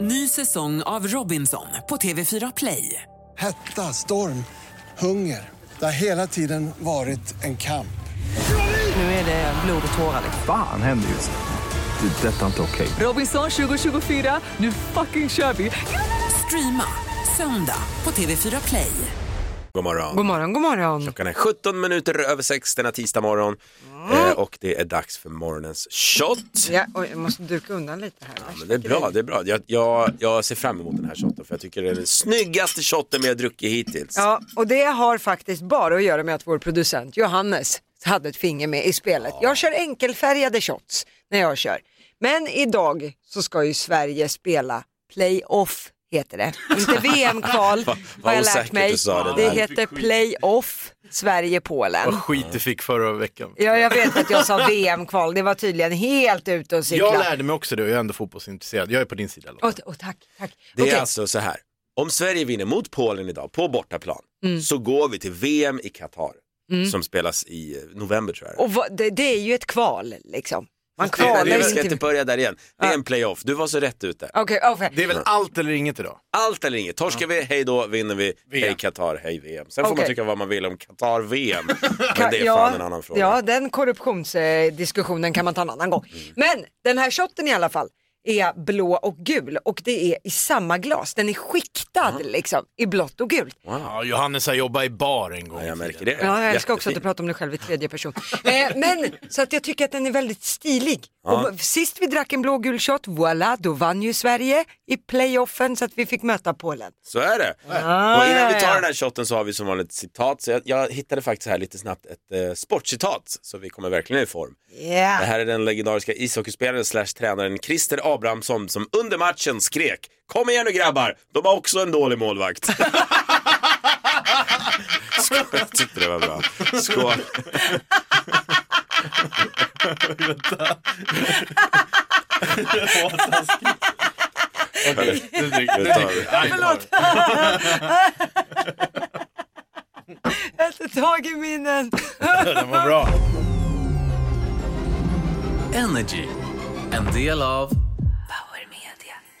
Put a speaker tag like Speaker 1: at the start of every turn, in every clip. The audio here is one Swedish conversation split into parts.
Speaker 1: Ny säsong av Robinson på TV4 Play.
Speaker 2: Hetta, storm, hunger. Det har hela tiden varit en kamp.
Speaker 1: Nu är det blod och tårar. liksom.
Speaker 3: Fan händer just nu. Det. är Detta är inte okej.
Speaker 1: Robinson 2024, nu fucking kör vi! Streama söndag på TV4 Play.
Speaker 4: God morgon.
Speaker 5: God morgon, god morgon.
Speaker 4: Klockan är 17 minuter över 6 denna tisdag morgon
Speaker 5: Mm.
Speaker 4: eh, och det är dags för morgonens shot.
Speaker 5: Ja, oj, jag måste duka undan lite här.
Speaker 4: Men det är bra, det är bra. Jag, jag, jag ser fram emot den här shotten för jag tycker det är den snyggaste shotten vi har druckit hittills.
Speaker 5: Ja, och det har faktiskt bara att göra med att vår producent Johannes hade ett finger med i spelet. Jag kör enkelfärgade shots när jag kör. Men idag så ska ju Sverige spela playoff heter det. Inte VM-kval har jag lärt
Speaker 4: osäkert
Speaker 5: mig.
Speaker 4: du sa det
Speaker 5: Det
Speaker 4: där.
Speaker 5: heter playoff Sverige-Polen.
Speaker 6: skit du fick förra veckan.
Speaker 5: Ja, jag vet att jag sa VM-kval, det var tydligen helt ute och
Speaker 6: Jag
Speaker 5: cykla.
Speaker 6: lärde mig också det och jag är ändå fotbollsintresserad. Jag är på din sida Lotta.
Speaker 5: Åh, t- åh, tack, tack.
Speaker 4: Det är
Speaker 5: Okej.
Speaker 4: alltså så här, om Sverige vinner mot Polen idag på bortaplan
Speaker 5: Mm.
Speaker 4: så går vi till VM i Qatar som spelas i eh, november tror jag.
Speaker 5: Och vad, det, det är ju ett kval liksom. Man
Speaker 4: Nej,
Speaker 5: kvalar
Speaker 4: nej,
Speaker 5: ju
Speaker 4: vi ska
Speaker 5: inte.
Speaker 4: inte börja där igen. Det är en playoff, du var så rätt ute.
Speaker 5: Okej, okay,
Speaker 6: Det är väl allt eller inget idag?
Speaker 4: Allt eller inget, torskar vi, hej då, vinner vi, hej Qatar, hej VM. Sen får man
Speaker 5: Okej.
Speaker 4: tycka vad man vill om Qatar-VM, men det är fan en annan fråga.
Speaker 5: Ja, den korruptionsdiskussionen kan man ta en annan gång.
Speaker 4: Mm.
Speaker 5: Men den här shotten i alla fall är blå och gul och det är i samma glas. Den är skiktad liksom i blått och gult.
Speaker 6: Ja, Johannes har jobbat i bar en gång.
Speaker 4: Ja, jag märker det.
Speaker 5: Ja, jag älskar också att du
Speaker 4: Jättefint.
Speaker 5: pratar om dig själv i tredje person. Eh, men så att jag tycker att den är väldigt stilig. Och sist vi drack en blå och gul shot, voilà, då vann ju Sverige i playoffen så att vi fick möta Polen.
Speaker 4: Så är det. och innan vi tar den här shotten så har vi som vanligt ett citat. Så jag, jag hittade faktiskt här lite snabbt ett eh, sportcitat, så vi kommer verkligen i form. Det här är den legendariska ishockeyspelaren slash tränaren Christer Abrahamsson som under matchen skrek Kom igen nu grabbar, de har också en dålig målvakt. Skål. Jag tyckte det var bra. Skål.
Speaker 6: Okej, det dricker
Speaker 4: Nu
Speaker 6: vi.
Speaker 4: tar vi.
Speaker 6: Nej, bara-
Speaker 5: Jag har inte tag i minnen.
Speaker 6: Den var bra.
Speaker 7: Energy. En del av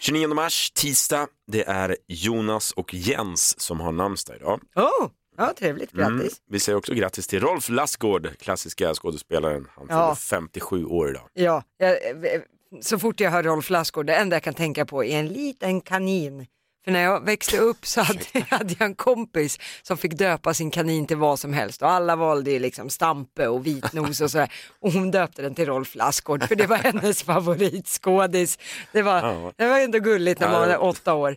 Speaker 4: 29 mars, tisdag. Det är Jonas och Jens som har namnsdag idag.
Speaker 5: Oh, ja, trevligt, grattis.
Speaker 4: Mm. Vi säger också grattis till Rolf Lassgård, klassiska skådespelaren. Han fyller
Speaker 5: Ja.
Speaker 4: 57 år idag.
Speaker 5: Ja, jag, eh, så fort jag hör Rolf Lassgård, det enda jag kan tänka på är en liten kanin. För när jag växte upp så hade, hade jag en kompis som fick döpa sin kanin till vad som helst och alla valde ju liksom Stampe och Vitnos och sådär. Och hon döpte den till Rolf Lassgård för det var hennes favoritskådis. Det var, det var ändå gulligt när man var åtta år.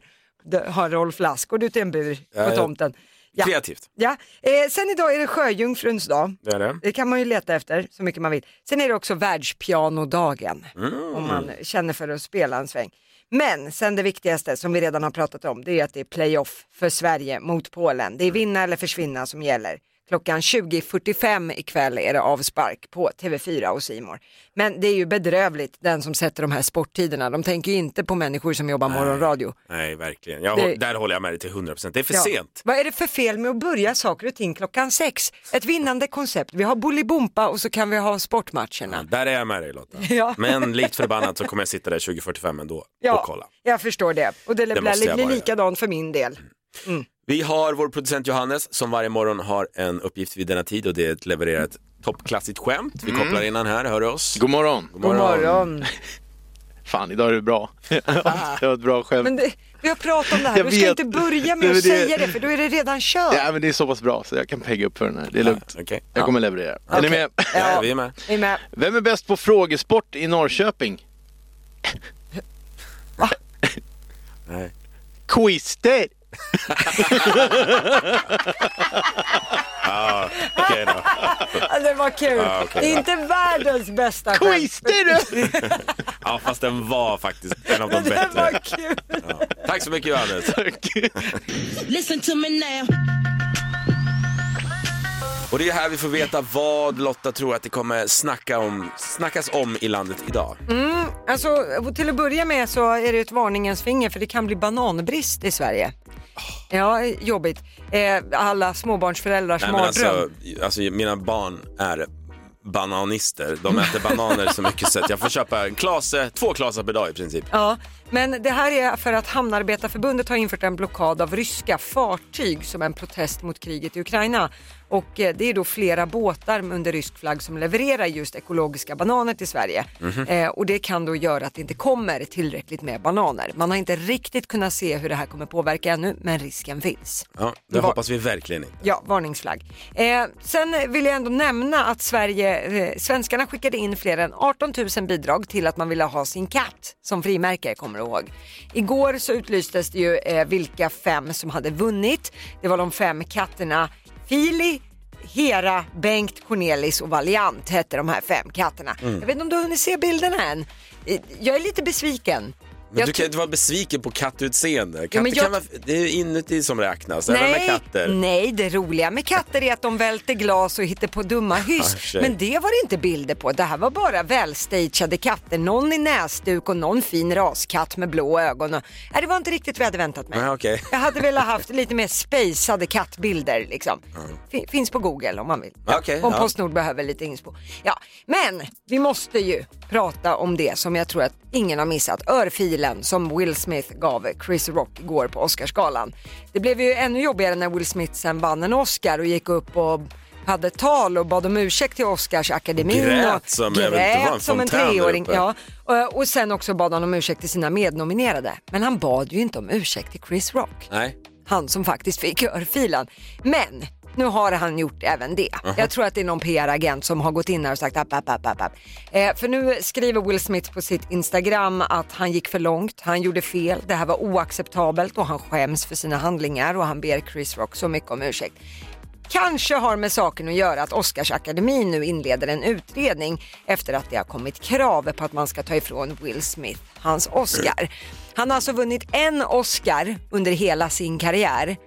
Speaker 5: Dö- Ha Rolf Lassgård ute i en bur
Speaker 4: Ja,
Speaker 5: på
Speaker 4: ja.
Speaker 5: tomten. Ja,
Speaker 4: Kreativt,
Speaker 5: ja. Eh, sen idag är det Sjöjungfruns dag.
Speaker 4: det är det.
Speaker 5: Det kan man ju leta efter så mycket man vill. Sen är det också världspianodagen
Speaker 4: Mm.
Speaker 5: om man känner för att spela en sväng. Men sen det viktigaste som vi redan har pratat om det är att det är playoff för Sverige mot Polen.
Speaker 4: Mm.
Speaker 5: Det är vinna eller försvinna som gäller. Klockan 20.45 ikväll är det avspark på TV4 och Simor. Men det är ju bedrövligt den som sätter de här sporttiderna. De tänker ju inte på människor som jobbar morgonradio.
Speaker 4: Nej, verkligen. Jag,
Speaker 5: Det-
Speaker 4: Där håller jag med dig till 100%. Det är för
Speaker 5: Ja.
Speaker 4: sent.
Speaker 5: Vad är det för fel med att börja saker och ting klockan sex? Ett vinnande koncept. Vi har Bolibompa och så kan vi ha sportmatcherna.
Speaker 4: Där är jag med dig Lotta.
Speaker 5: Ja.
Speaker 4: Men likt förbannat så kommer jag sitta där 2045 ändå och kolla.
Speaker 5: jag förstår det. Och det,
Speaker 4: Det
Speaker 5: blir-
Speaker 4: måste jag
Speaker 5: blir
Speaker 4: bara
Speaker 5: likadant för min del.
Speaker 4: Vi har vår producent Johannes som varje morgon har en uppgift vid denna tid och det är att leverera ett toppklassigt skämt. Vi kopplar in han här, hör du oss?
Speaker 8: God morgon.
Speaker 5: Mm. God morgon.
Speaker 8: Fan, idag är det bra. det var ett bra skämt.
Speaker 5: Men det, vi har pratat om det här,
Speaker 8: Jag
Speaker 5: du ska
Speaker 8: vet.
Speaker 5: inte börja
Speaker 8: Nej,
Speaker 5: med
Speaker 8: men
Speaker 5: att
Speaker 8: det-
Speaker 5: säga det för då är det redan kört.
Speaker 8: Ja, men det är så pass bra så jag kan pegga upp för den här. Det är lugnt.
Speaker 4: Okej.
Speaker 8: Jag kommer leverera. Är ni med?
Speaker 4: Ja, vi är med.
Speaker 5: Är ni med?
Speaker 8: Vem är bäst på frågesport i Norrköping?
Speaker 4: Nej.
Speaker 8: Quister!
Speaker 4: Okej då.
Speaker 5: Ja, det var kul.
Speaker 4: Ja, okej.
Speaker 5: Inte världens bästa
Speaker 8: Quister! du!
Speaker 4: Ja, fast den var faktiskt en av de
Speaker 5: men det
Speaker 4: bättre.
Speaker 5: var kul.
Speaker 4: Tack så mycket Johannes.
Speaker 9: Listen to me now.
Speaker 4: Och det är här vi får veta vad Lotta tror att det kommer snacka om, snackas om i landet idag.
Speaker 5: Alltså, och till att börja med så är det ett varningens finger för det kan bli bananbrist i Sverige.
Speaker 4: Ah.
Speaker 5: Ja, jobbigt. Eh, alla småbarnsföräldrars
Speaker 4: Nej, men
Speaker 5: mardröm.
Speaker 4: alltså, alltså, mina barn är bananister. De äter bananer så mycket så att jag får köpa en klase, två klasar per dag i princip.
Speaker 5: Ja, Men det här är för att Hamnarbetarförbundet har infört en blockad av ryska fartyg som en protest mot kriget i Ukraina. Och eh, det är då flera båtar under rysk flagg som levererar just ekologiska bananer till Sverige.
Speaker 4: Mhm.
Speaker 5: Eh, och det kan då göra att det inte kommer tillräckligt med bananer. Man har inte riktigt kunnat se hur det här kommer påverka ännu, men risken finns.
Speaker 4: Ja, det hoppas vi verkligen inte.
Speaker 5: Ja, varningsflagg. Eh, sen vill jag ändå nämna att Sverige, eh, svenskarna skickade in fler än 18 000 bidrag till att man ville ha sin katt som frimärke, kommer du ihåg. Igår så utlystes det ju eh, vilka fem som hade vunnit. Det var de fem katterna Fili, Hera, Bengt, Cornelis och Valiant hette de här fem katterna.
Speaker 4: Mm.
Speaker 5: Jag vet inte om du har hunnit se bilderna än. Eh, Jag är lite besviken.
Speaker 4: Men
Speaker 5: Jag
Speaker 4: du kan
Speaker 5: tro-
Speaker 4: ju inte vara besviken på kattutseende. Katter
Speaker 5: Ja, men jag-
Speaker 4: kan vara, det är ju inuti som räknas, även med katter.
Speaker 5: Nej, det roliga med katter är att de välter glas och hittar på dumma
Speaker 4: Ja, i och för
Speaker 5: hyss.
Speaker 4: sig.
Speaker 5: Men det var det inte bilder på. Det här var bara välstageade katter. Någon i näsduk och någon fin raskatt med blå ögon. Och... Nej, det var inte riktigt vad jag hade väntat mig.
Speaker 4: Nej, okej.
Speaker 5: Jag hade velat haft lite mer spejsade kattbilder. Liksom. Fin- Finns på Google om man vill.
Speaker 4: Ja, okej,
Speaker 5: om
Speaker 4: ja.
Speaker 5: Postnord behöver lite inspo. Ja. Men vi måste ju prata om det som jag tror att ingen har missat. Örfilen som Will Smith gav Chris Rock igår på Oscarsgalan. Det blev ju ännu jobbigare när Will Smith sen vann en Oscar och gick upp och hade ett tal och bad om ursäkt till Oscarsakademin.
Speaker 4: Grät
Speaker 5: och
Speaker 4: som- jag vet inte, det var en
Speaker 5: grät som en
Speaker 4: fontän där
Speaker 5: treåring.
Speaker 4: uppe.
Speaker 5: Ja, och- Och sen också bad han om ursäkt till sina mednominerade. Men han bad ju inte om ursäkt till Chris Rock.
Speaker 4: Nej.
Speaker 5: Han som faktiskt fick örfilen. Men nu har han gjort även det. Jag tror att det är någon PR-agent som har gått in här och sagt app, app, app, app, app. Eh, för nu skriver Will Smith på sitt Instagram att han gick för långt, han gjorde fel, det här var oacceptabelt och han skäms för sina handlingar och han ber Chris Rock så mycket om ursäkt. Kanske har med saken att göra att Oscarsakademin nu inleder en utredning efter att det har kommit krav på att man ska ta ifrån Will Smith hans Oscar. Han har alltså vunnit en Oscar under hela sin karriär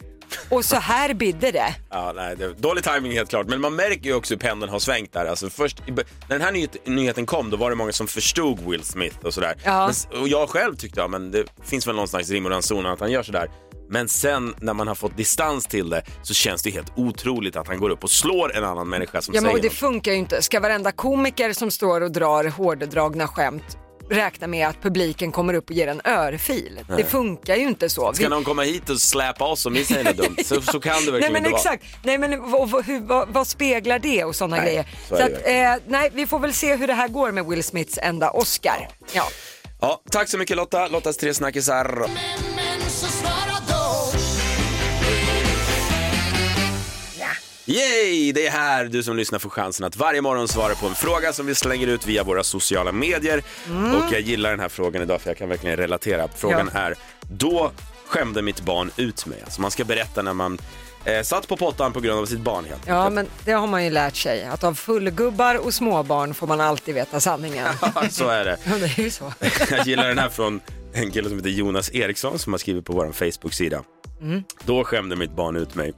Speaker 5: och så här bidde det.
Speaker 4: Ja, nej, det, dålig timing helt klart, men man märker ju också hur pendeln har svängt där. Alltså, först, i bö- när den här nyhet, nyheten kom då var det många som förstod Will Smith och sådär.
Speaker 5: Ja.
Speaker 4: Men, s- och jag själv tyckte ja, men det finns väl någon slags rim och ranson att han gör sådär. Men sen när man har fått distans till det så känns det ju helt otroligt att han går upp och slår en annan människa som
Speaker 5: Ja, men
Speaker 4: säger
Speaker 5: och det
Speaker 4: något.
Speaker 5: funkar ju inte. Ska varenda komiker som står och drar hårdragna skämt räkna med att publiken kommer upp och ger en örfil? Det funkar ju inte så. Vi-
Speaker 4: Ska någon komma hit och släpa oss om vi säger något dumt? Så, så kan det verkligen
Speaker 5: Nej men
Speaker 4: inte vara.
Speaker 5: exakt, nej men vad, vad, hur, vad, vad speglar det och sådana
Speaker 4: Nej,
Speaker 5: grejer.
Speaker 4: så
Speaker 5: Så,
Speaker 4: är det
Speaker 5: att, eh, nej vi får väl se hur det här går med Will Smiths enda Oscar. Ja.
Speaker 4: Ja, tack så mycket Lotta, Lottas tre snackisar. Yay! Det är här du som lyssnar får chansen att varje morgon svara på en fråga som vi slänger ut via våra sociala medier. Och jag gillar den här frågan idag för jag kan verkligen relatera. Frågan
Speaker 5: Mm. Ja.
Speaker 4: är, då skämde mitt barn ut mig. Alltså man ska berätta när man eh, satt på pottan på grund av sitt barn helt
Speaker 5: ja men det har man ju lärt sig att av fullgubbar och småbarn får man alltid veta sanningen.
Speaker 4: Ja, så är det.
Speaker 5: Ja, det är ju så.
Speaker 4: Jag gillar den här från en kille som heter Jonas Eriksson som har skrivit på vår Facebook-sida. Då skämde mitt barn ut mig.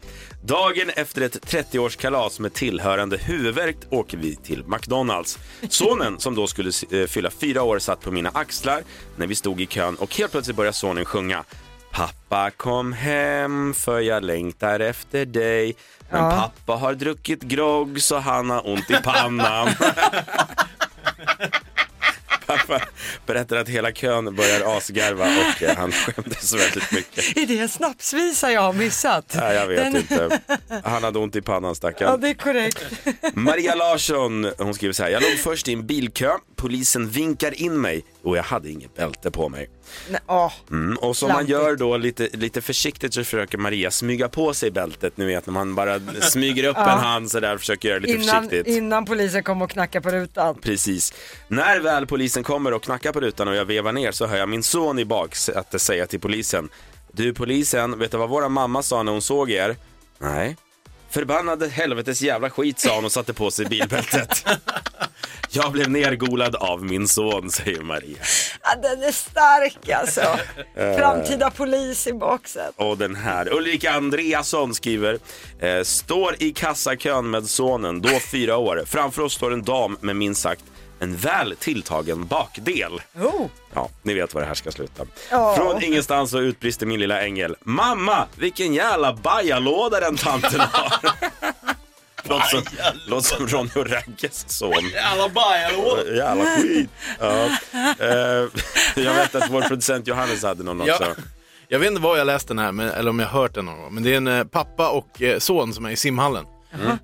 Speaker 4: Dagen efter ett 30-årskalas med tillhörande huvudvärk åker vi till McDonalds. Sonen som då skulle eh, fylla fyra år satt på mina axlar när vi stod i kön och helt plötsligt började sonen sjunga Pappa kom hem för jag längtar efter dig Men pappa har druckit grogg så han har ont i pannan Pappa berättar att hela kön börjar asgarva och eh, han skämdes väldigt mycket.
Speaker 5: Är det en snapsvisa jag har missat?
Speaker 4: Nej, jag vet
Speaker 5: Den-
Speaker 4: inte. Han hade ont i pannan
Speaker 5: Ja
Speaker 4: stackarn.
Speaker 5: det är korrekt.
Speaker 4: Maria Larsson, hon skriver så här. Jag låg först i en bilkö, polisen vinkar in mig och jag hade inget bälte på mig.
Speaker 5: Nej, åh.
Speaker 4: Mm, och som man
Speaker 5: Klantigt.
Speaker 4: gör då lite, lite försiktigt så försöker Maria smyga på sig bältet. Ni vet när man bara smyger upp en hand så där och försöker göra det lite
Speaker 5: Innan,
Speaker 4: försiktigt.
Speaker 5: innan polisen kom och knackade på rutan.
Speaker 4: Precis. När väl polisen kommer och knackar på rutan och jag vevar ner så hör jag min son i baksätet säga till polisen. Du polisen, vet du vad våra mamma sa när hon såg er? Nej. Förbannade helvetes jävla skit sa hon och satte på sig bilbältet. Jag blev nergolad av min son, säger Maria.
Speaker 5: Ja, den är stark alltså. Framtida polis i boxen.
Speaker 4: Och den här. Ulrika Andreasson skriver. Eh, står i kassakön med sonen, då fyra år. Framför oss står en dam med minst sagt en väl tilltagen bakdel.
Speaker 5: Oh.
Speaker 4: Ja, ni vet var det här ska sluta.
Speaker 5: Ja.
Speaker 4: Från ingenstans så utbrister min lilla ängel. Mamma, vilken jävla bajalåda den tanten har. Låter som, låter som Ronny och Ragges son.
Speaker 6: Alla bajar
Speaker 4: Jävla skit. Ja. Eh, jag vet att vår producent Johannes hade någon också.
Speaker 6: Ja. Jag vet inte var jag läste den här, men, eller om jag hört den någon gång. Men det är en eh, pappa och eh, son som är i simhallen.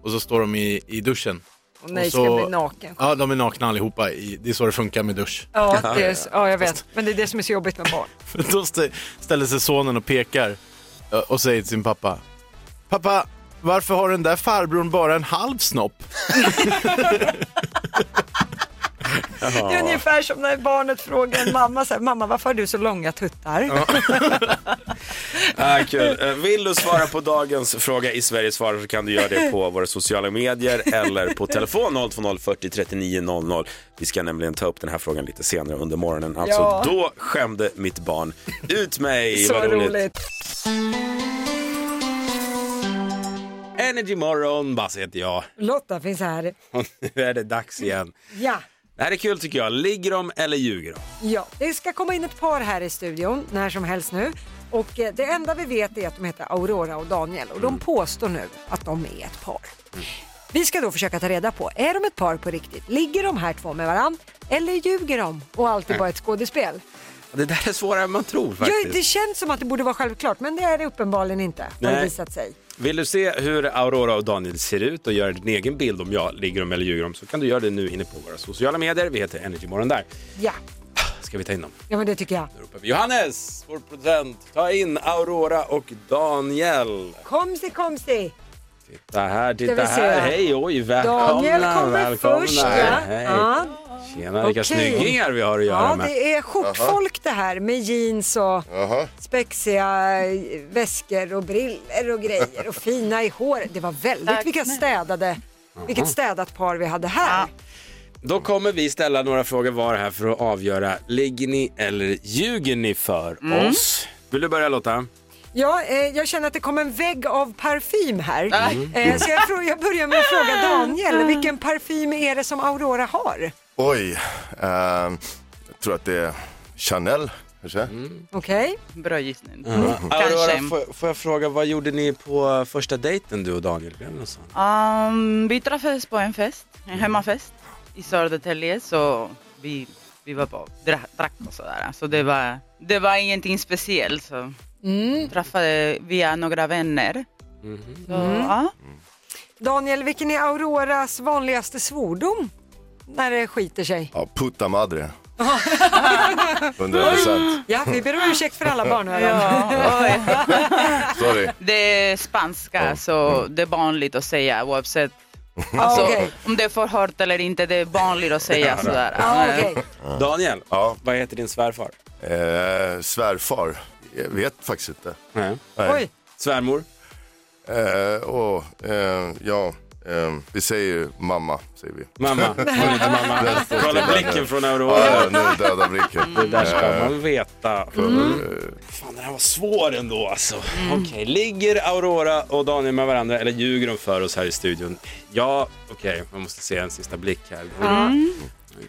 Speaker 6: Och så står de i, i duschen.
Speaker 5: Och nej,
Speaker 6: Och
Speaker 5: ska
Speaker 6: så-
Speaker 5: bli naken.
Speaker 6: Ja, de är nakna allihopa. I, det är så det funkar med dusch.
Speaker 5: Ja, det är, så- ja, jag vet. Men det är det som är så jobbigt med barn.
Speaker 6: Då stä- ställer sig sonen och pekar eh, och säger till sin pappa. Pappa, varför har den där farbrorn bara en halv snopp?
Speaker 5: Det är ungefär som när barnet frågar en mamma så här, mamma varför har du så långa tuttar?
Speaker 4: Ah, kul. Eh, Vill du svara på dagens fråga i Sverige svarar så kan du göra det på våra sociala medier eller på telefon 020 40 39 00. Vi ska nämligen ta upp den här frågan lite senare under morgonen. Alltså,
Speaker 5: Ja.
Speaker 4: då skämde mitt barn ut mig.
Speaker 5: så
Speaker 4: Vad roligt.
Speaker 5: roligt.
Speaker 4: Energy morgon, Basse heter jag.
Speaker 5: Lotta finns här.
Speaker 4: Och nu är det dags igen.
Speaker 5: Ja.
Speaker 4: Det här är kul tycker jag. Ligger de eller ljuger de?
Speaker 5: Ja, det ska komma in ett par här i studion när som helst nu. Och eh, det enda vi vet är att de heter Aurora och Daniel och
Speaker 4: Mm.
Speaker 5: de påstår nu att de är ett par. Vi ska då försöka ta reda på, är de ett par på riktigt? Ligger de här två med varandra? Eller ljuger de och allt är bara ett skådespel?
Speaker 4: Det där är svårare än man tror
Speaker 5: Ja,
Speaker 4: faktiskt.
Speaker 5: det känns som att det borde vara självklart, men det är det uppenbarligen inte. Har det
Speaker 4: Nej.
Speaker 5: visat sig.
Speaker 4: Vill du se hur Aurora och Daniel ser ut och göra din egen bild om jag ligger om eller ljuger om så kan du göra det nu inne på våra sociala medier. Vi heter Energymorgon där.
Speaker 5: Ja.
Speaker 4: Ska vi ta in dem?
Speaker 5: ja, men det tycker jag.
Speaker 4: Nu ropar vi Johannes, vår producent, ta in Aurora och Daniel.
Speaker 5: Komsi, komsi!
Speaker 4: Titta här, titta
Speaker 5: Ska vi se.
Speaker 4: här. Hej, oj, välkomna.
Speaker 5: Daniel kommer
Speaker 4: välkomna.
Speaker 5: först. Ja.
Speaker 4: Hej.
Speaker 5: Ja.
Speaker 4: Tjena, vilka
Speaker 5: Okej.
Speaker 4: snyggingar vi har att göra
Speaker 5: Ja,
Speaker 4: med.
Speaker 5: det är skjortfolk det här med jeans och spexiga eh, väskor och briller och grejer och fina i håret. Det var väldigt, vilka städade, vilket städat par vi hade här.
Speaker 4: Då kommer vi ställa några frågor var här för att avgöra, ligger ni eller ljuger ni för
Speaker 5: Mm.
Speaker 4: oss? Vill du börja Lotta?
Speaker 5: Ja, eh, jag känner att det kom en vägg av parfym här.
Speaker 4: Mm.
Speaker 5: Eh, så jag, frå- jag börjar med att fråga Daniel, vilken parfym är det som Aurora har?
Speaker 10: Oj, ehm, jag tror att det är Chanel kanske?
Speaker 6: Mm.
Speaker 5: Okej,
Speaker 9: Bra gissning. Mm,
Speaker 4: Aurora,
Speaker 9: Kanske.
Speaker 4: får, får jag fråga, vad gjorde ni på eh, första dejten du och Daniel? Blev det något sånt?
Speaker 9: Um, vi träffades på en fest, en hemmafest i Södertälje så vi, vi var på dra- drack och sådär. Så det var, det var ingenting speciellt. Så.
Speaker 5: Mm.
Speaker 9: Träffade via några vänner. Så,
Speaker 5: Mm.
Speaker 9: ja.
Speaker 5: Daniel, vilken är Auroras vanligaste svordom när det skiter sig?
Speaker 10: Ja, puta madre. 100 procent.
Speaker 5: Ja, vi ber om ursäkt för alla barn.
Speaker 9: Ja, oj.
Speaker 10: Sorry.
Speaker 9: Det är spanska så det är vanligt att säga oavsett alltså,
Speaker 5: Ah, okej.
Speaker 9: om det är förhört eller inte. Det är vanligt att säga sådär.
Speaker 5: Ja, Ah, okej.
Speaker 4: Daniel,
Speaker 10: Ja.
Speaker 4: vad heter din svärfar?
Speaker 10: Eh, svärfar. Jag vet faktiskt inte.
Speaker 4: Nej.
Speaker 5: Oj.
Speaker 4: Svärmor?
Speaker 10: Eh, åh, eh, ja, eh, vi säger ju mamma, säger vi.
Speaker 4: Mamma? Hon heter mamma.
Speaker 10: Den står
Speaker 4: Kolla
Speaker 10: still där nu.
Speaker 4: blicken från Aurora.
Speaker 10: Ja, nu döda blicken.
Speaker 4: Det där ska man veta. Mm.
Speaker 10: Eh,
Speaker 4: Fan, den här var svår ändå alltså.
Speaker 5: Mm.
Speaker 4: Okej, ligger Aurora och Daniel med varandra eller ljuger de för oss här i studion? Ja, okej, man måste se en sista blick här.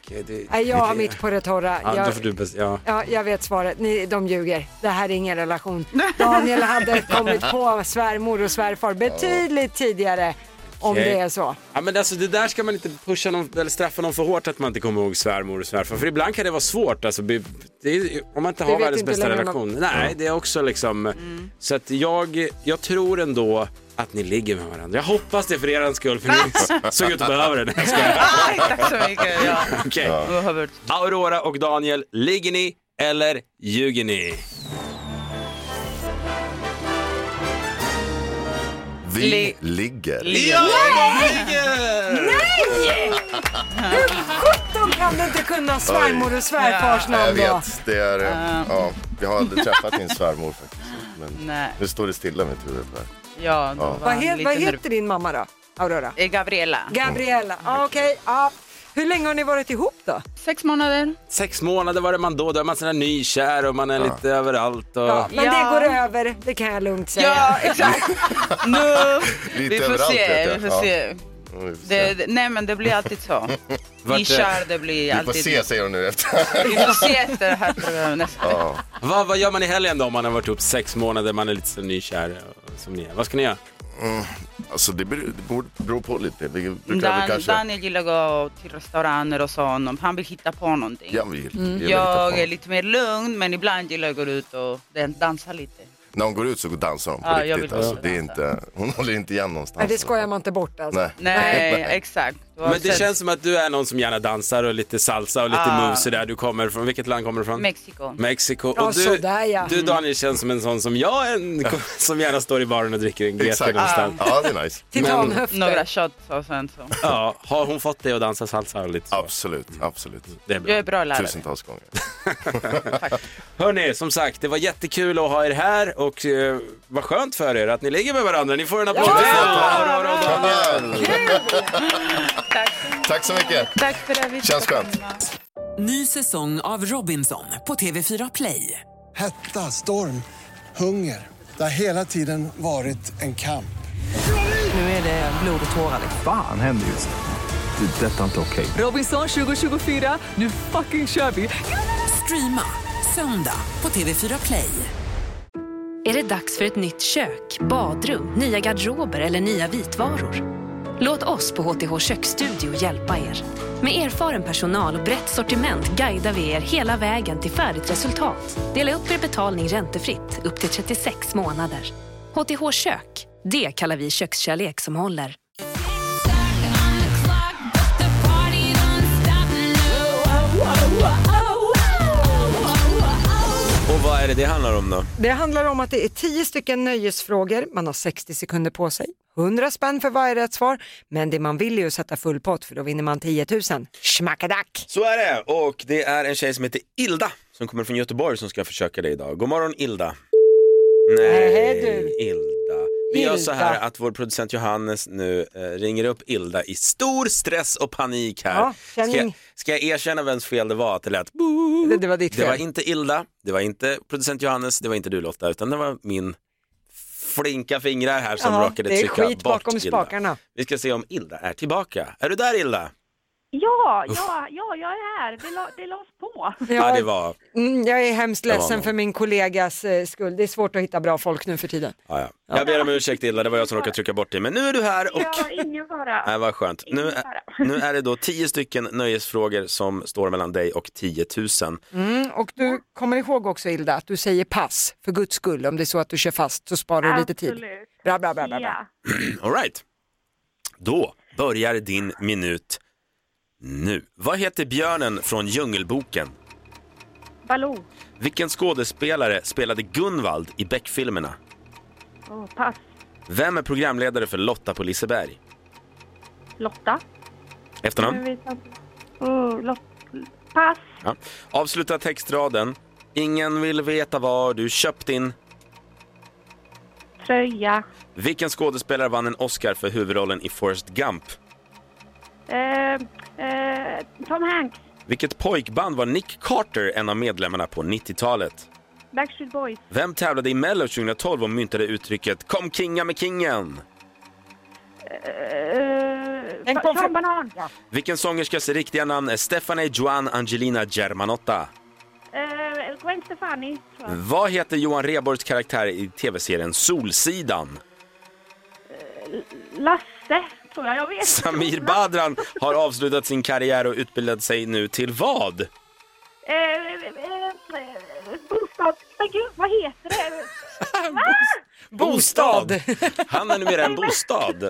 Speaker 4: Okej, det,
Speaker 5: Nej, jag har mitt på det torra.
Speaker 4: Ja, då
Speaker 5: Jag,
Speaker 4: får du bes- ja.
Speaker 5: ja, jag vet svaret. Ni, de ljuger. Det här är ingen relation. Daniel hade kommit på svärmor och svärfar betydligt tidigare. Om
Speaker 4: Okej.
Speaker 5: det är så.
Speaker 4: Ja, men alltså, det där ska man inte pusha någon, eller straffa någon för hårt att man inte kommer ihåg svärmor och svärfar. För ibland kan det vara svårt alltså, be- det är, om man inte har
Speaker 5: vet
Speaker 4: världens
Speaker 5: inte
Speaker 4: bästa
Speaker 5: längre Mm.
Speaker 4: relation. Nej, det är också liksom... Så att jag, jag tror ändå att ni ligger med varandra. Jag hoppas det för er skull, för ni såg ut att behöva det. Nej, jag skojar.
Speaker 9: Aj, tack så mycket. Ja.
Speaker 4: Okej.
Speaker 9: Behöver-
Speaker 4: Aurora och Daniel, ligger ni eller ljuger ni?
Speaker 10: Vi
Speaker 9: Li-
Speaker 10: ligger.
Speaker 9: Ja!
Speaker 5: De kan inte kunna svärmor och svärfars
Speaker 10: Ja, jag
Speaker 5: namn då.
Speaker 10: vet, det är... eh, Ja, jag har aldrig träffat din svärmor faktiskt. Men
Speaker 9: Nej.
Speaker 10: nu står det stilla i mitt huvud. Där.
Speaker 9: Ja, då var
Speaker 5: Vad,
Speaker 9: han
Speaker 5: he-
Speaker 9: lite
Speaker 5: vad
Speaker 9: nervös.
Speaker 5: heter din mamma då? Aurora?
Speaker 9: Eh, Gabriella.
Speaker 5: Gabriella. Ah, Okej. Ja. Hur länge har ni varit ihop då?
Speaker 9: Sex månader.
Speaker 4: Sex månader var det man då, då är man sådär nykär och man är lite överallt. Och...
Speaker 5: Ja, men
Speaker 9: Ja.
Speaker 5: det går över, det kan jag lugnt säga.
Speaker 9: Ja, exakt. nu.
Speaker 10: Lite
Speaker 9: Vi får
Speaker 10: överallt vet
Speaker 9: se.
Speaker 10: jag.
Speaker 9: Vi
Speaker 10: Ja.
Speaker 9: får se.
Speaker 10: Ja, vi får
Speaker 9: Det,
Speaker 10: se.
Speaker 9: det- nej, men det blir alltid så.
Speaker 4: Vart,
Speaker 9: Ni kör, det blir
Speaker 10: Vi får
Speaker 9: alltid...
Speaker 10: se, säger hon nu efter.
Speaker 9: Vi får se efter det här programmet.
Speaker 10: Ja.
Speaker 4: Vad, vad gör man i helgen då om man har varit ihop sex månader, man är lite så nykär eh, som ni är? Vad ska ni göra?
Speaker 10: Mm, alltså det beror, det borde- beror på lite. Vi brukar väl
Speaker 9: Dan,
Speaker 10: kanske...
Speaker 9: Daniel gillar att gå till restauranger och sånt. Han vill hitta på någonting.
Speaker 10: Ja, vi, vi vill hitta på.
Speaker 9: Mm. Jag är lite mer lugn men ibland gillar jag att gå ut och den- dansa lite.
Speaker 10: När hon går ut så dansar hon på
Speaker 9: Ja, jag vill
Speaker 10: riktigt.
Speaker 9: också
Speaker 10: Alltså. Det är
Speaker 9: dansa.
Speaker 10: inte, hon håller inte igen någonstans.
Speaker 5: Nej, det skojar man inte bort alltså.
Speaker 10: Nej.
Speaker 9: Nej, exakt. Du har
Speaker 4: Men det
Speaker 9: sett
Speaker 4: känns som att du är någon som gärna dansar och lite salsa och lite
Speaker 9: Ah.
Speaker 4: moves och där. Du kommer från, vilket land kommer du från?
Speaker 9: Mexiko.
Speaker 4: Mexiko.
Speaker 5: Ja,
Speaker 4: Och du,
Speaker 5: sådär, ja. Mm.
Speaker 4: du Daniel känns som en sån som jag, en, som gärna står i baren och dricker en GT
Speaker 10: Exakt.
Speaker 4: någonstans.
Speaker 10: Ja, det är nice.
Speaker 5: Titanhöfter.
Speaker 9: Några shots och sen så.
Speaker 4: Ja, har hon fått dig att dansa salsa och lite så?
Speaker 10: Absolut, absolut.
Speaker 4: Det är
Speaker 9: Jag
Speaker 4: bra.
Speaker 9: är bra lärare.
Speaker 10: Tusentals gånger.
Speaker 4: Hörni, som sagt, det var jättekul att ha er här och eh, vad skönt för er att ni ligger med varandra. Ni får en applåd.
Speaker 9: Tack, så-
Speaker 10: Tack så mycket.
Speaker 9: tack för det. Vi
Speaker 10: Känns skönt.
Speaker 1: Ny säsong av Robinson på TV4 Play.
Speaker 2: Hetta, storm, hunger. Det har hela tiden varit en kamp.
Speaker 1: Nu är det blod och tårar. liksom.
Speaker 3: Fan händer just nu. Det. är Detta är inte okej.
Speaker 1: Robinson 2024, nu fucking kör vi! Streama söndag på TV4 Play.
Speaker 11: Är det dags för ett nytt kök, badrum, nya garderober eller nya vitvaror? Låt oss på HTH Köksstudio hjälpa er. Med erfaren personal och brett sortiment guidar vi er hela vägen till färdigt resultat. Dela upp er betalning räntefritt upp till 36 månader. HTH Kök, det kallar vi kökskärlek som håller.
Speaker 4: Och vad är det det handlar om då?
Speaker 5: Det handlar om att det är 10 stycken nöjesfrågor, man har 60 sekunder på sig, 100 spänn för varje rätt svar, men det man vill är ju att sätta full pott för då vinner man 10 000. Schmackadack!
Speaker 4: Så är det och det är en tjej som heter Ilda som kommer från Göteborg som ska försöka det idag. God morgon Ilda.
Speaker 5: Hej, du.
Speaker 4: Ilda. Vi gör så här
Speaker 5: Ilda.
Speaker 4: att vår producent Johannes nu eh, ringer upp Ilda i stor stress och panik här.
Speaker 5: Ja, känning.
Speaker 4: ska, jag, ska jag erkänna vems fel det var att det lät
Speaker 5: Det, det var ditt
Speaker 4: Mm. Det var
Speaker 5: fel.
Speaker 4: inte Ilda, det var inte producent Johannes, det var inte du Lotta, utan det var min flinka fingrar här som
Speaker 5: Ja,
Speaker 4: råkade
Speaker 5: det är
Speaker 4: trycka bort
Speaker 5: skit bakom
Speaker 4: Ilda.
Speaker 5: spakarna.
Speaker 4: Vi ska se om Ilda är tillbaka. Är du där Ilda?
Speaker 12: Ja, ja, ja, jag är här. Det, la, det lades på.
Speaker 4: Ja,
Speaker 5: Ja,
Speaker 4: det var...
Speaker 5: mm, jag är hemskt
Speaker 4: var
Speaker 5: ledsen
Speaker 4: någon.
Speaker 5: för min kollegas eh, skull. Det är svårt att hitta bra folk nu för tiden.
Speaker 4: Ja, ja. Jag ber om ursäkt Ilda, det var jag som råkade trycka bort dig. Men nu är du här och...
Speaker 12: Ja, ingen fara.
Speaker 4: Nej, vad skönt. Nu,
Speaker 12: Ingen
Speaker 4: är-
Speaker 12: fara.
Speaker 4: nu är det då tio stycken nöjesfrågor som står mellan dig och 10 000.
Speaker 5: Mm, och du kommer ihåg också Ilda att du säger pass för guds skull om det är så att du kör fast så sparar du lite tid.
Speaker 12: Absolut.
Speaker 5: Bra, bra, bra, bra, bra.
Speaker 12: Ja.
Speaker 4: All right. Då börjar din minut nu. Vad heter björnen från Djungelboken?
Speaker 12: Baloo.
Speaker 4: Vilken skådespelare spelade Gunvald i Beck-filmerna?
Speaker 12: Åh, pass.
Speaker 4: Vem är programledare för Lotta på Liseberg?
Speaker 12: Lotta.
Speaker 4: Efternamn?
Speaker 12: Oh, lot, pass.
Speaker 4: Ja. Avsluta textraden. Ingen vill veta var du köpt din.
Speaker 12: Tröja.
Speaker 4: Vilken skådespelare vann en Oscar för huvudrollen i Forrest Gump?
Speaker 12: Eh, eh, Tom Hanks.
Speaker 4: Vilket pojkband var Nick Carter en av medlemmarna på 90-talet?
Speaker 12: Backstreet Boys.
Speaker 4: Vem tävlade i Mello 2012 och myntade uttrycket “Kom kinga med kingen”?
Speaker 12: Eh,
Speaker 5: En
Speaker 12: fa-
Speaker 5: konfir-
Speaker 12: Sean Banan. Ja.
Speaker 4: Vilken sångerskas riktiga namn är Stephanie Joan Angelina Germanotta?
Speaker 12: Eh, Gwen Stefani. tror jag.
Speaker 4: Vad heter Johan Rheborgs karaktär i tv-serien Solsidan?
Speaker 12: Lasse, tror jag. Jag vet
Speaker 4: Samir
Speaker 12: inte.
Speaker 4: Badran har avslutat sin karriär och utbildat sig nu till vad?
Speaker 12: Eh, eh, eh, eh, Bostads... Men gud, vad heter det?
Speaker 5: Bostad!
Speaker 4: Han är numera en bostad.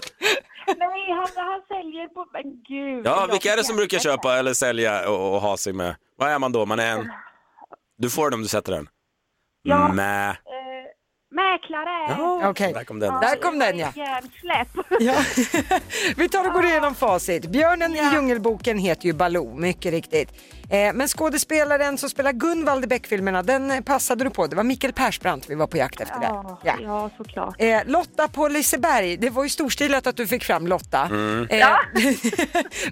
Speaker 12: Nej, han, han säljer på... Men gud.
Speaker 4: Ja,
Speaker 12: jag
Speaker 4: vilka är det som
Speaker 12: vet
Speaker 4: brukar
Speaker 12: inte.
Speaker 4: köpa eller sälja och, och ha sig med? Vad är man då? Man är en... Du får den om du sätter den.
Speaker 12: Ja.
Speaker 4: Mä.
Speaker 12: Eh, mäklare.
Speaker 5: Okej.
Speaker 4: Där kom den.
Speaker 5: Där kom den ja.
Speaker 12: Järnsläpp.
Speaker 5: Ja. Vi tar och går igenom facit. Björnen i Djungelboken heter ju Baloo, mycket riktigt. Eh, men skådespelaren som spelar Gunvald i Beck-filmerna, den eh, passade du på. Det var Mikael Persbrandt vi var på jakt efter där.
Speaker 12: Ja,
Speaker 5: Ja.
Speaker 12: ja, såklart.
Speaker 5: Eh, Lotta på Liseberg, det var ju storstilat att du fick fram Lotta. Eh,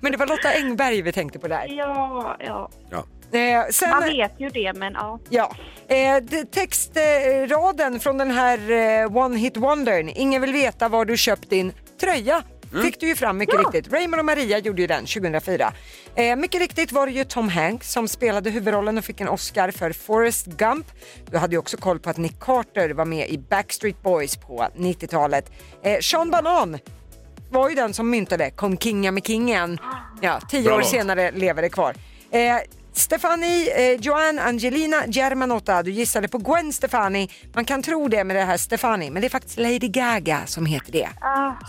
Speaker 5: men det var Lotta Engberg vi tänkte på där.
Speaker 12: Ja, ja.
Speaker 4: Ja.
Speaker 5: Eh, sen,
Speaker 12: Man vet ju det, men ja.
Speaker 5: Ja, eh, det- textraden från den här eh, One Hit Wondern. Ingen vill veta var du köpt din tröja fick du ju fram mycket riktigt. Raymond och Maria gjorde ju den 2004. Eh, mycket riktigt var det ju Tom Hanks som spelade huvudrollen och fick en Oscar för Forrest Gump. Du hade ju också koll på att Nick Carter var med i Backstreet Boys på 90-talet. Eh, Sean Banan var ju den som myntade Kom kinga med kingen. Ja, tio
Speaker 13: Bra
Speaker 5: år
Speaker 13: låt.
Speaker 5: senare lever det kvar. Eh, Stefani, eh, Joanne, Angelina Germanotta, du gissade på Gwen Stefani. Man kan tro det med det här Stefani, men det är faktiskt Lady Gaga som heter det.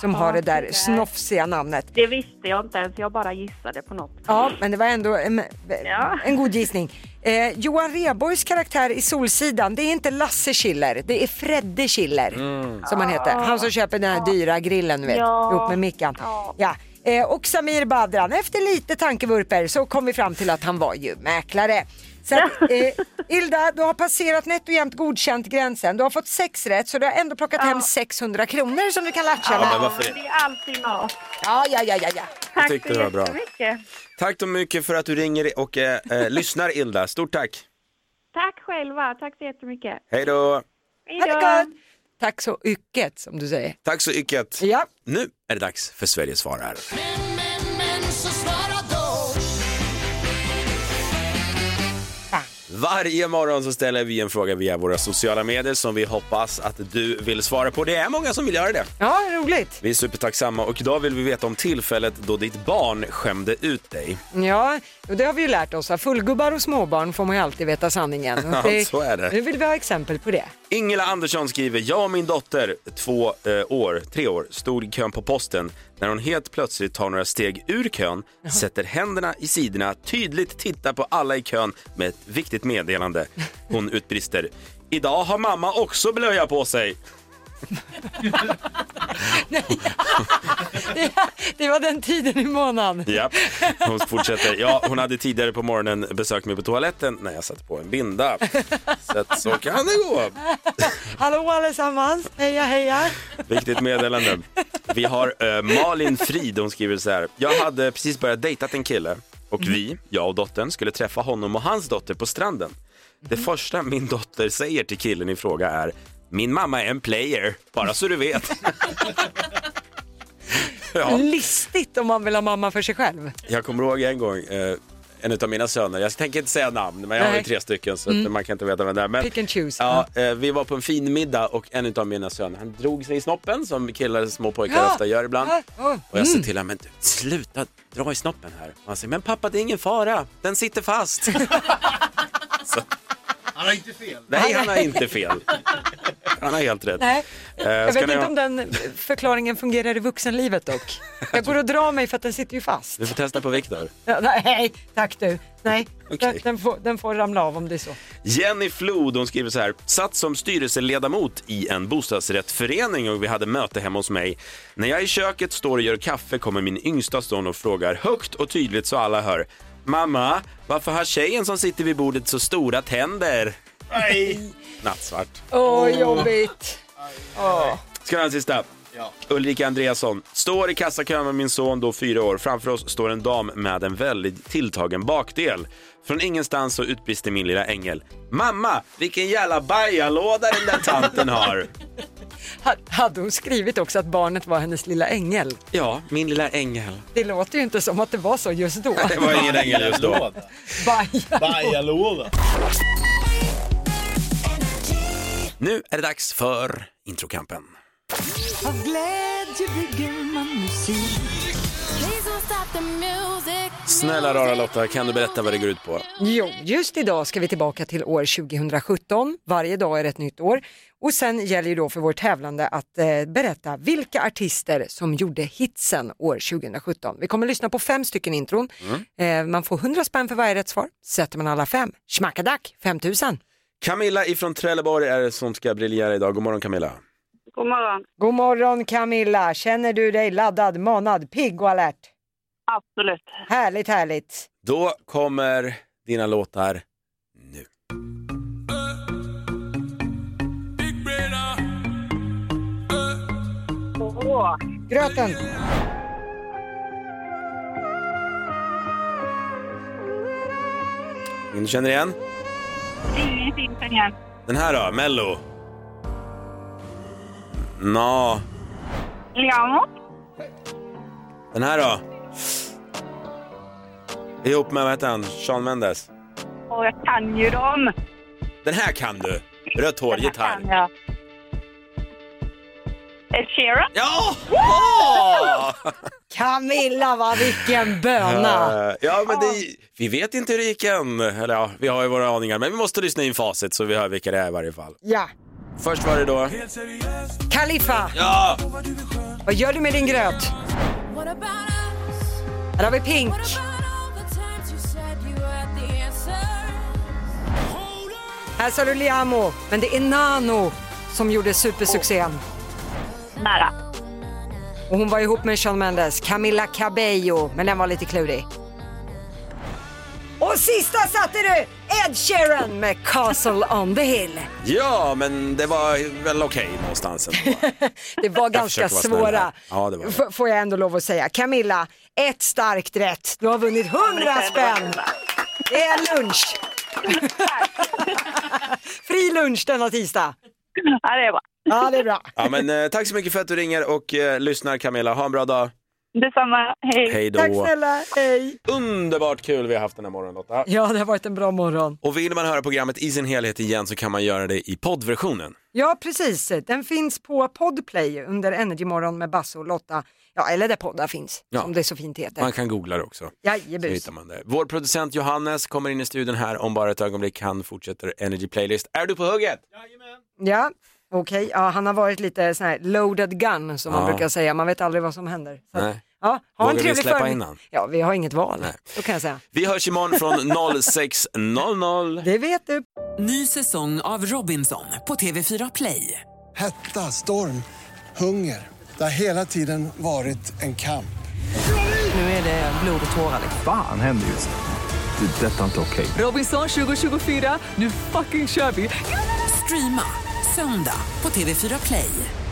Speaker 5: Som har det där snofsiga namnet.
Speaker 12: Ah, Det visste jag inte ens, jag bara gissade på något.
Speaker 5: Ja, men det var ändå en, en god gissning. Eh, Johan Rheborgs karaktär i Solsidan, det är inte Lasse Schiller, det är Fredde Schiller
Speaker 13: Mm.
Speaker 5: som han heter. Han
Speaker 12: Ah.
Speaker 5: som köper den här dyra grillen du vet,
Speaker 12: Ja.
Speaker 5: ihop med Mickan. Ja. Eh, och Samir Badran, efter lite tankevurper så kom vi fram till att han var ju mäklare. Så att, eh, Ilda, du har passerat nätt och jämnt godkänt gränsen. Du har fått sex rätt så du har ändå plockat hem 600 kronor som du kan latcha
Speaker 4: Ja,
Speaker 5: med.
Speaker 4: men varför-
Speaker 12: Det är alltid mat.
Speaker 5: Ja, ja, ja, ja, ja.
Speaker 4: Jag tyckte det var bra.
Speaker 12: jättemycket.
Speaker 4: Tack så mycket för att du ringer och eh, eh, lyssnar Ilda. Stort tack.
Speaker 12: Tack själva, tack så jättemycket.
Speaker 4: Hej då.
Speaker 5: Ha det gott! Tack så mycket som du säger.
Speaker 4: Tack så mycket.
Speaker 5: Ja.
Speaker 4: Nu är det dags för Sverige svarar. Varje morgon så ställer vi en fråga via våra sociala medier som vi hoppas att du vill svara på. Det är många som vill göra det.
Speaker 5: Ja, roligt.
Speaker 4: Vi är supertacksamma och idag vill vi veta om tillfället då ditt barn skämde ut dig.
Speaker 5: Ja, och det har vi ju lärt oss. att Fullgubbar och småbarn får man ju alltid veta sanningen. Och
Speaker 4: Ja, så är det.
Speaker 5: Nu vill vi ha exempel på det.
Speaker 4: Ingela Andersson skriver, jag och min dotter, två eh, år, tre år, stod i kön på posten när hon helt plötsligt tar några steg ur kön, sätter händerna i sidorna, tydligt tittar på alla i kön med ett viktigt meddelande. Hon utbrister, idag har mamma också blöja på sig.
Speaker 5: Ja, det var den tiden i månaden.
Speaker 4: Ja, hon fortsätter. Ja, hon hade tidigare på morgonen besökt mig på toaletten när jag satte på en binda. Så, att, så kan det gå.
Speaker 5: Hallå allesammans, heja heja.
Speaker 4: Viktigt meddelande. Vi har eh, Malin Frid, hon skriver så här. Jag hade precis börjat dejtat en kille och vi, jag och dottern, skulle träffa honom och hans dotter på stranden. Det första min dotter säger till killen i fråga är Min mamma är en player, bara så du vet. Ja.
Speaker 5: Listigt om man vill ha mamma för sig själv.
Speaker 4: Jag kommer ihåg en gång, eh, en av mina söner, jag tänker inte säga namn, men jag har ju
Speaker 5: Nej.
Speaker 4: tre stycken så
Speaker 5: Mm.
Speaker 4: att man kan inte veta vem det är. Men,
Speaker 5: Pick and choose.
Speaker 4: Ja, eh, vi var på en fin middag och en av mina söner, han drog sig i snoppen som killar och små pojkar
Speaker 5: Ja.
Speaker 4: ofta gör ibland.
Speaker 5: Ja, ja.
Speaker 4: Och jag sa
Speaker 5: Mm.
Speaker 4: till honom, men du, sluta dra i snoppen här. Och han säger, men pappa det är ingen fara, den sitter fast. så,
Speaker 6: Han har inte fel.
Speaker 4: nej, han har inte fel. Han har helt rätt.
Speaker 5: Nej,
Speaker 4: Eh,
Speaker 5: jag
Speaker 4: ska
Speaker 5: vet
Speaker 4: ni
Speaker 5: inte
Speaker 4: ha-
Speaker 5: om den förklaringen fungerar i vuxenlivet dock. Jag går och drar mig för att den sitter ju fast.
Speaker 4: Du får testa på Viktor.
Speaker 5: Ja, Nej, tack du. Nej, den, den, får, den får ramla av om det är så.
Speaker 4: Jenny Flod hon skriver så här. Satt som styrelseledamot i en bostadsrättsförening och vi hade möte hemma hos mig. När jag i köket står och gör kaffe kommer min yngsta son och frågar högt och tydligt så alla hör. Mamma, varför har tjejen som sitter vid bordet så stora tänder? Nej. Nattsvart.
Speaker 5: Åh, jobbigt. Åh.
Speaker 4: Ska vi ha en sista? Ulrika Andreasson. Står i kassakön med min son, då fyra år. Framför oss står en dam med en väldigt tilltagen bakdel. Från ingenstans så utbrister min lilla ängel. Mamma, vilken jävla bajalåda den där tanten har.
Speaker 5: Ha- Hade hon skrivit också att barnet var hennes lilla ängel?
Speaker 4: Ja, min lilla ängel.
Speaker 5: Det låter ju inte som att det var så just då.
Speaker 4: Det var ingen ängel just då.
Speaker 5: Baja.
Speaker 6: Bajalåda.
Speaker 4: Nu är det dags för introkampen.
Speaker 13: Av glädje bygger man musik.
Speaker 4: Snälla rara Lotta, kan du berätta vad det går ut på?
Speaker 5: Jo, just idag ska vi tillbaka till år 2017. Varje dag är ett nytt år. Och sen gäller ju då för vår tävlande att eh, berätta vilka artister som gjorde hitsen år 2017. Vi kommer lyssna på fem stycken intron. Eh, man får 100 spänn för varje rätt svar. Sätter man alla fem, schmackadack, 5000.
Speaker 4: Camilla ifrån Trelleborg är det som ska briljera idag. God morgon Camilla.
Speaker 5: God morgon. God morgon Camilla. Känner du dig laddad, manad, pigg och alert? Absolut. Härligt, härligt.
Speaker 4: Då kommer dina låtar
Speaker 5: Åh. Gröten.
Speaker 4: om du känner igen.
Speaker 12: Ingenting sen igen.
Speaker 4: Den här då, Mello? Nå,
Speaker 12: Liamo?
Speaker 4: Den här då? Ihop med, vad heter han, Sean Mendes?
Speaker 12: Och jag kan ju dem.
Speaker 4: Den här kan du! Rött hår, gitarr.
Speaker 12: Kan jag. Ed Sheeran?
Speaker 4: Ja!
Speaker 5: Camilla, vad vilken böna!
Speaker 4: Eh, Ja, men det, vi vet inte hur det gick än. Eller ja, vi har ju våra aningar. Men vi måste lyssna in facit så vi hör vilka det är i varje fall.
Speaker 5: Ja,
Speaker 4: Först var det då...
Speaker 5: Kaliffa!
Speaker 4: Ja!
Speaker 5: Vad gör du med din gröt? Här har vi Pink. Här sa du Liamo, men det är Nano som gjorde supersuccén.
Speaker 12: Nära.
Speaker 5: Och hon var ihop med Shawn Mendes, Camilla Cabello, men den var lite klurig. Och sista satte du Ed Sheeran med Castle on the Hill.
Speaker 4: Ja, men det var väl okej någonstans ändå.
Speaker 5: Det var
Speaker 4: Jag
Speaker 5: ganska
Speaker 4: försöker vara snäll här.
Speaker 5: svåra.
Speaker 4: Ja, det var det.
Speaker 5: F- får jag ändå lov att säga. Camilla, ett starkt rätt. Du har vunnit 100 spänn. Det är en lunch. Fri lunch denna tisdag.
Speaker 12: Ja, det är bra.
Speaker 5: Ja, det är bra.
Speaker 4: Ja, men eh, tack så mycket för att du ringer och eh, lyssnar Camilla. Ha en bra dag.
Speaker 12: Detsamma. Hej.
Speaker 4: Hej då.
Speaker 5: Tack snälla. Hej.
Speaker 4: Underbart kul vi har haft den här morgonen Lotta.
Speaker 5: Ja, det har varit en bra morgon.
Speaker 4: Och vill man höra programmet i sin helhet igen så kan man göra det i poddversionen.
Speaker 5: Ja, precis. Den finns på Podplay under Energymorgon med Basse och Lotta. Ja, eller där poddar finns,
Speaker 4: Ja.
Speaker 5: som det så fint heter.
Speaker 4: Man kan googla det också. Så
Speaker 5: Jajebus.
Speaker 4: hittar man det. Vår producent Johannes kommer in i studion här om bara ett ögonblick. Han fortsätter Energy Playlist. Är du på hugget?
Speaker 5: Ja, okej. Ja, han har varit lite sån här loaded gun som
Speaker 4: Ja.
Speaker 5: man brukar säga. Man vet aldrig vad som händer. Så att-
Speaker 4: Nej.
Speaker 5: Ja, ha
Speaker 4: Vågar
Speaker 5: en
Speaker 4: vi
Speaker 5: trevlig
Speaker 4: släppa
Speaker 5: förmiddag.
Speaker 4: in han?
Speaker 5: Ja, vi har inget val. Då kan jag säga.
Speaker 4: Vi hörs imorgon från 06.00.
Speaker 5: Det vet du.
Speaker 1: Ny säsong av Robinson på TV4 Play.
Speaker 2: Hetta, storm, hunger. Det har hela tiden varit en kamp.
Speaker 13: Nu är det blod och
Speaker 1: liksom.
Speaker 13: tårar.
Speaker 3: Fan händer just det. Det är detta inte okej.
Speaker 1: Robinson 2024, nu fucking kör vi! Streama söndag på TV4 Play.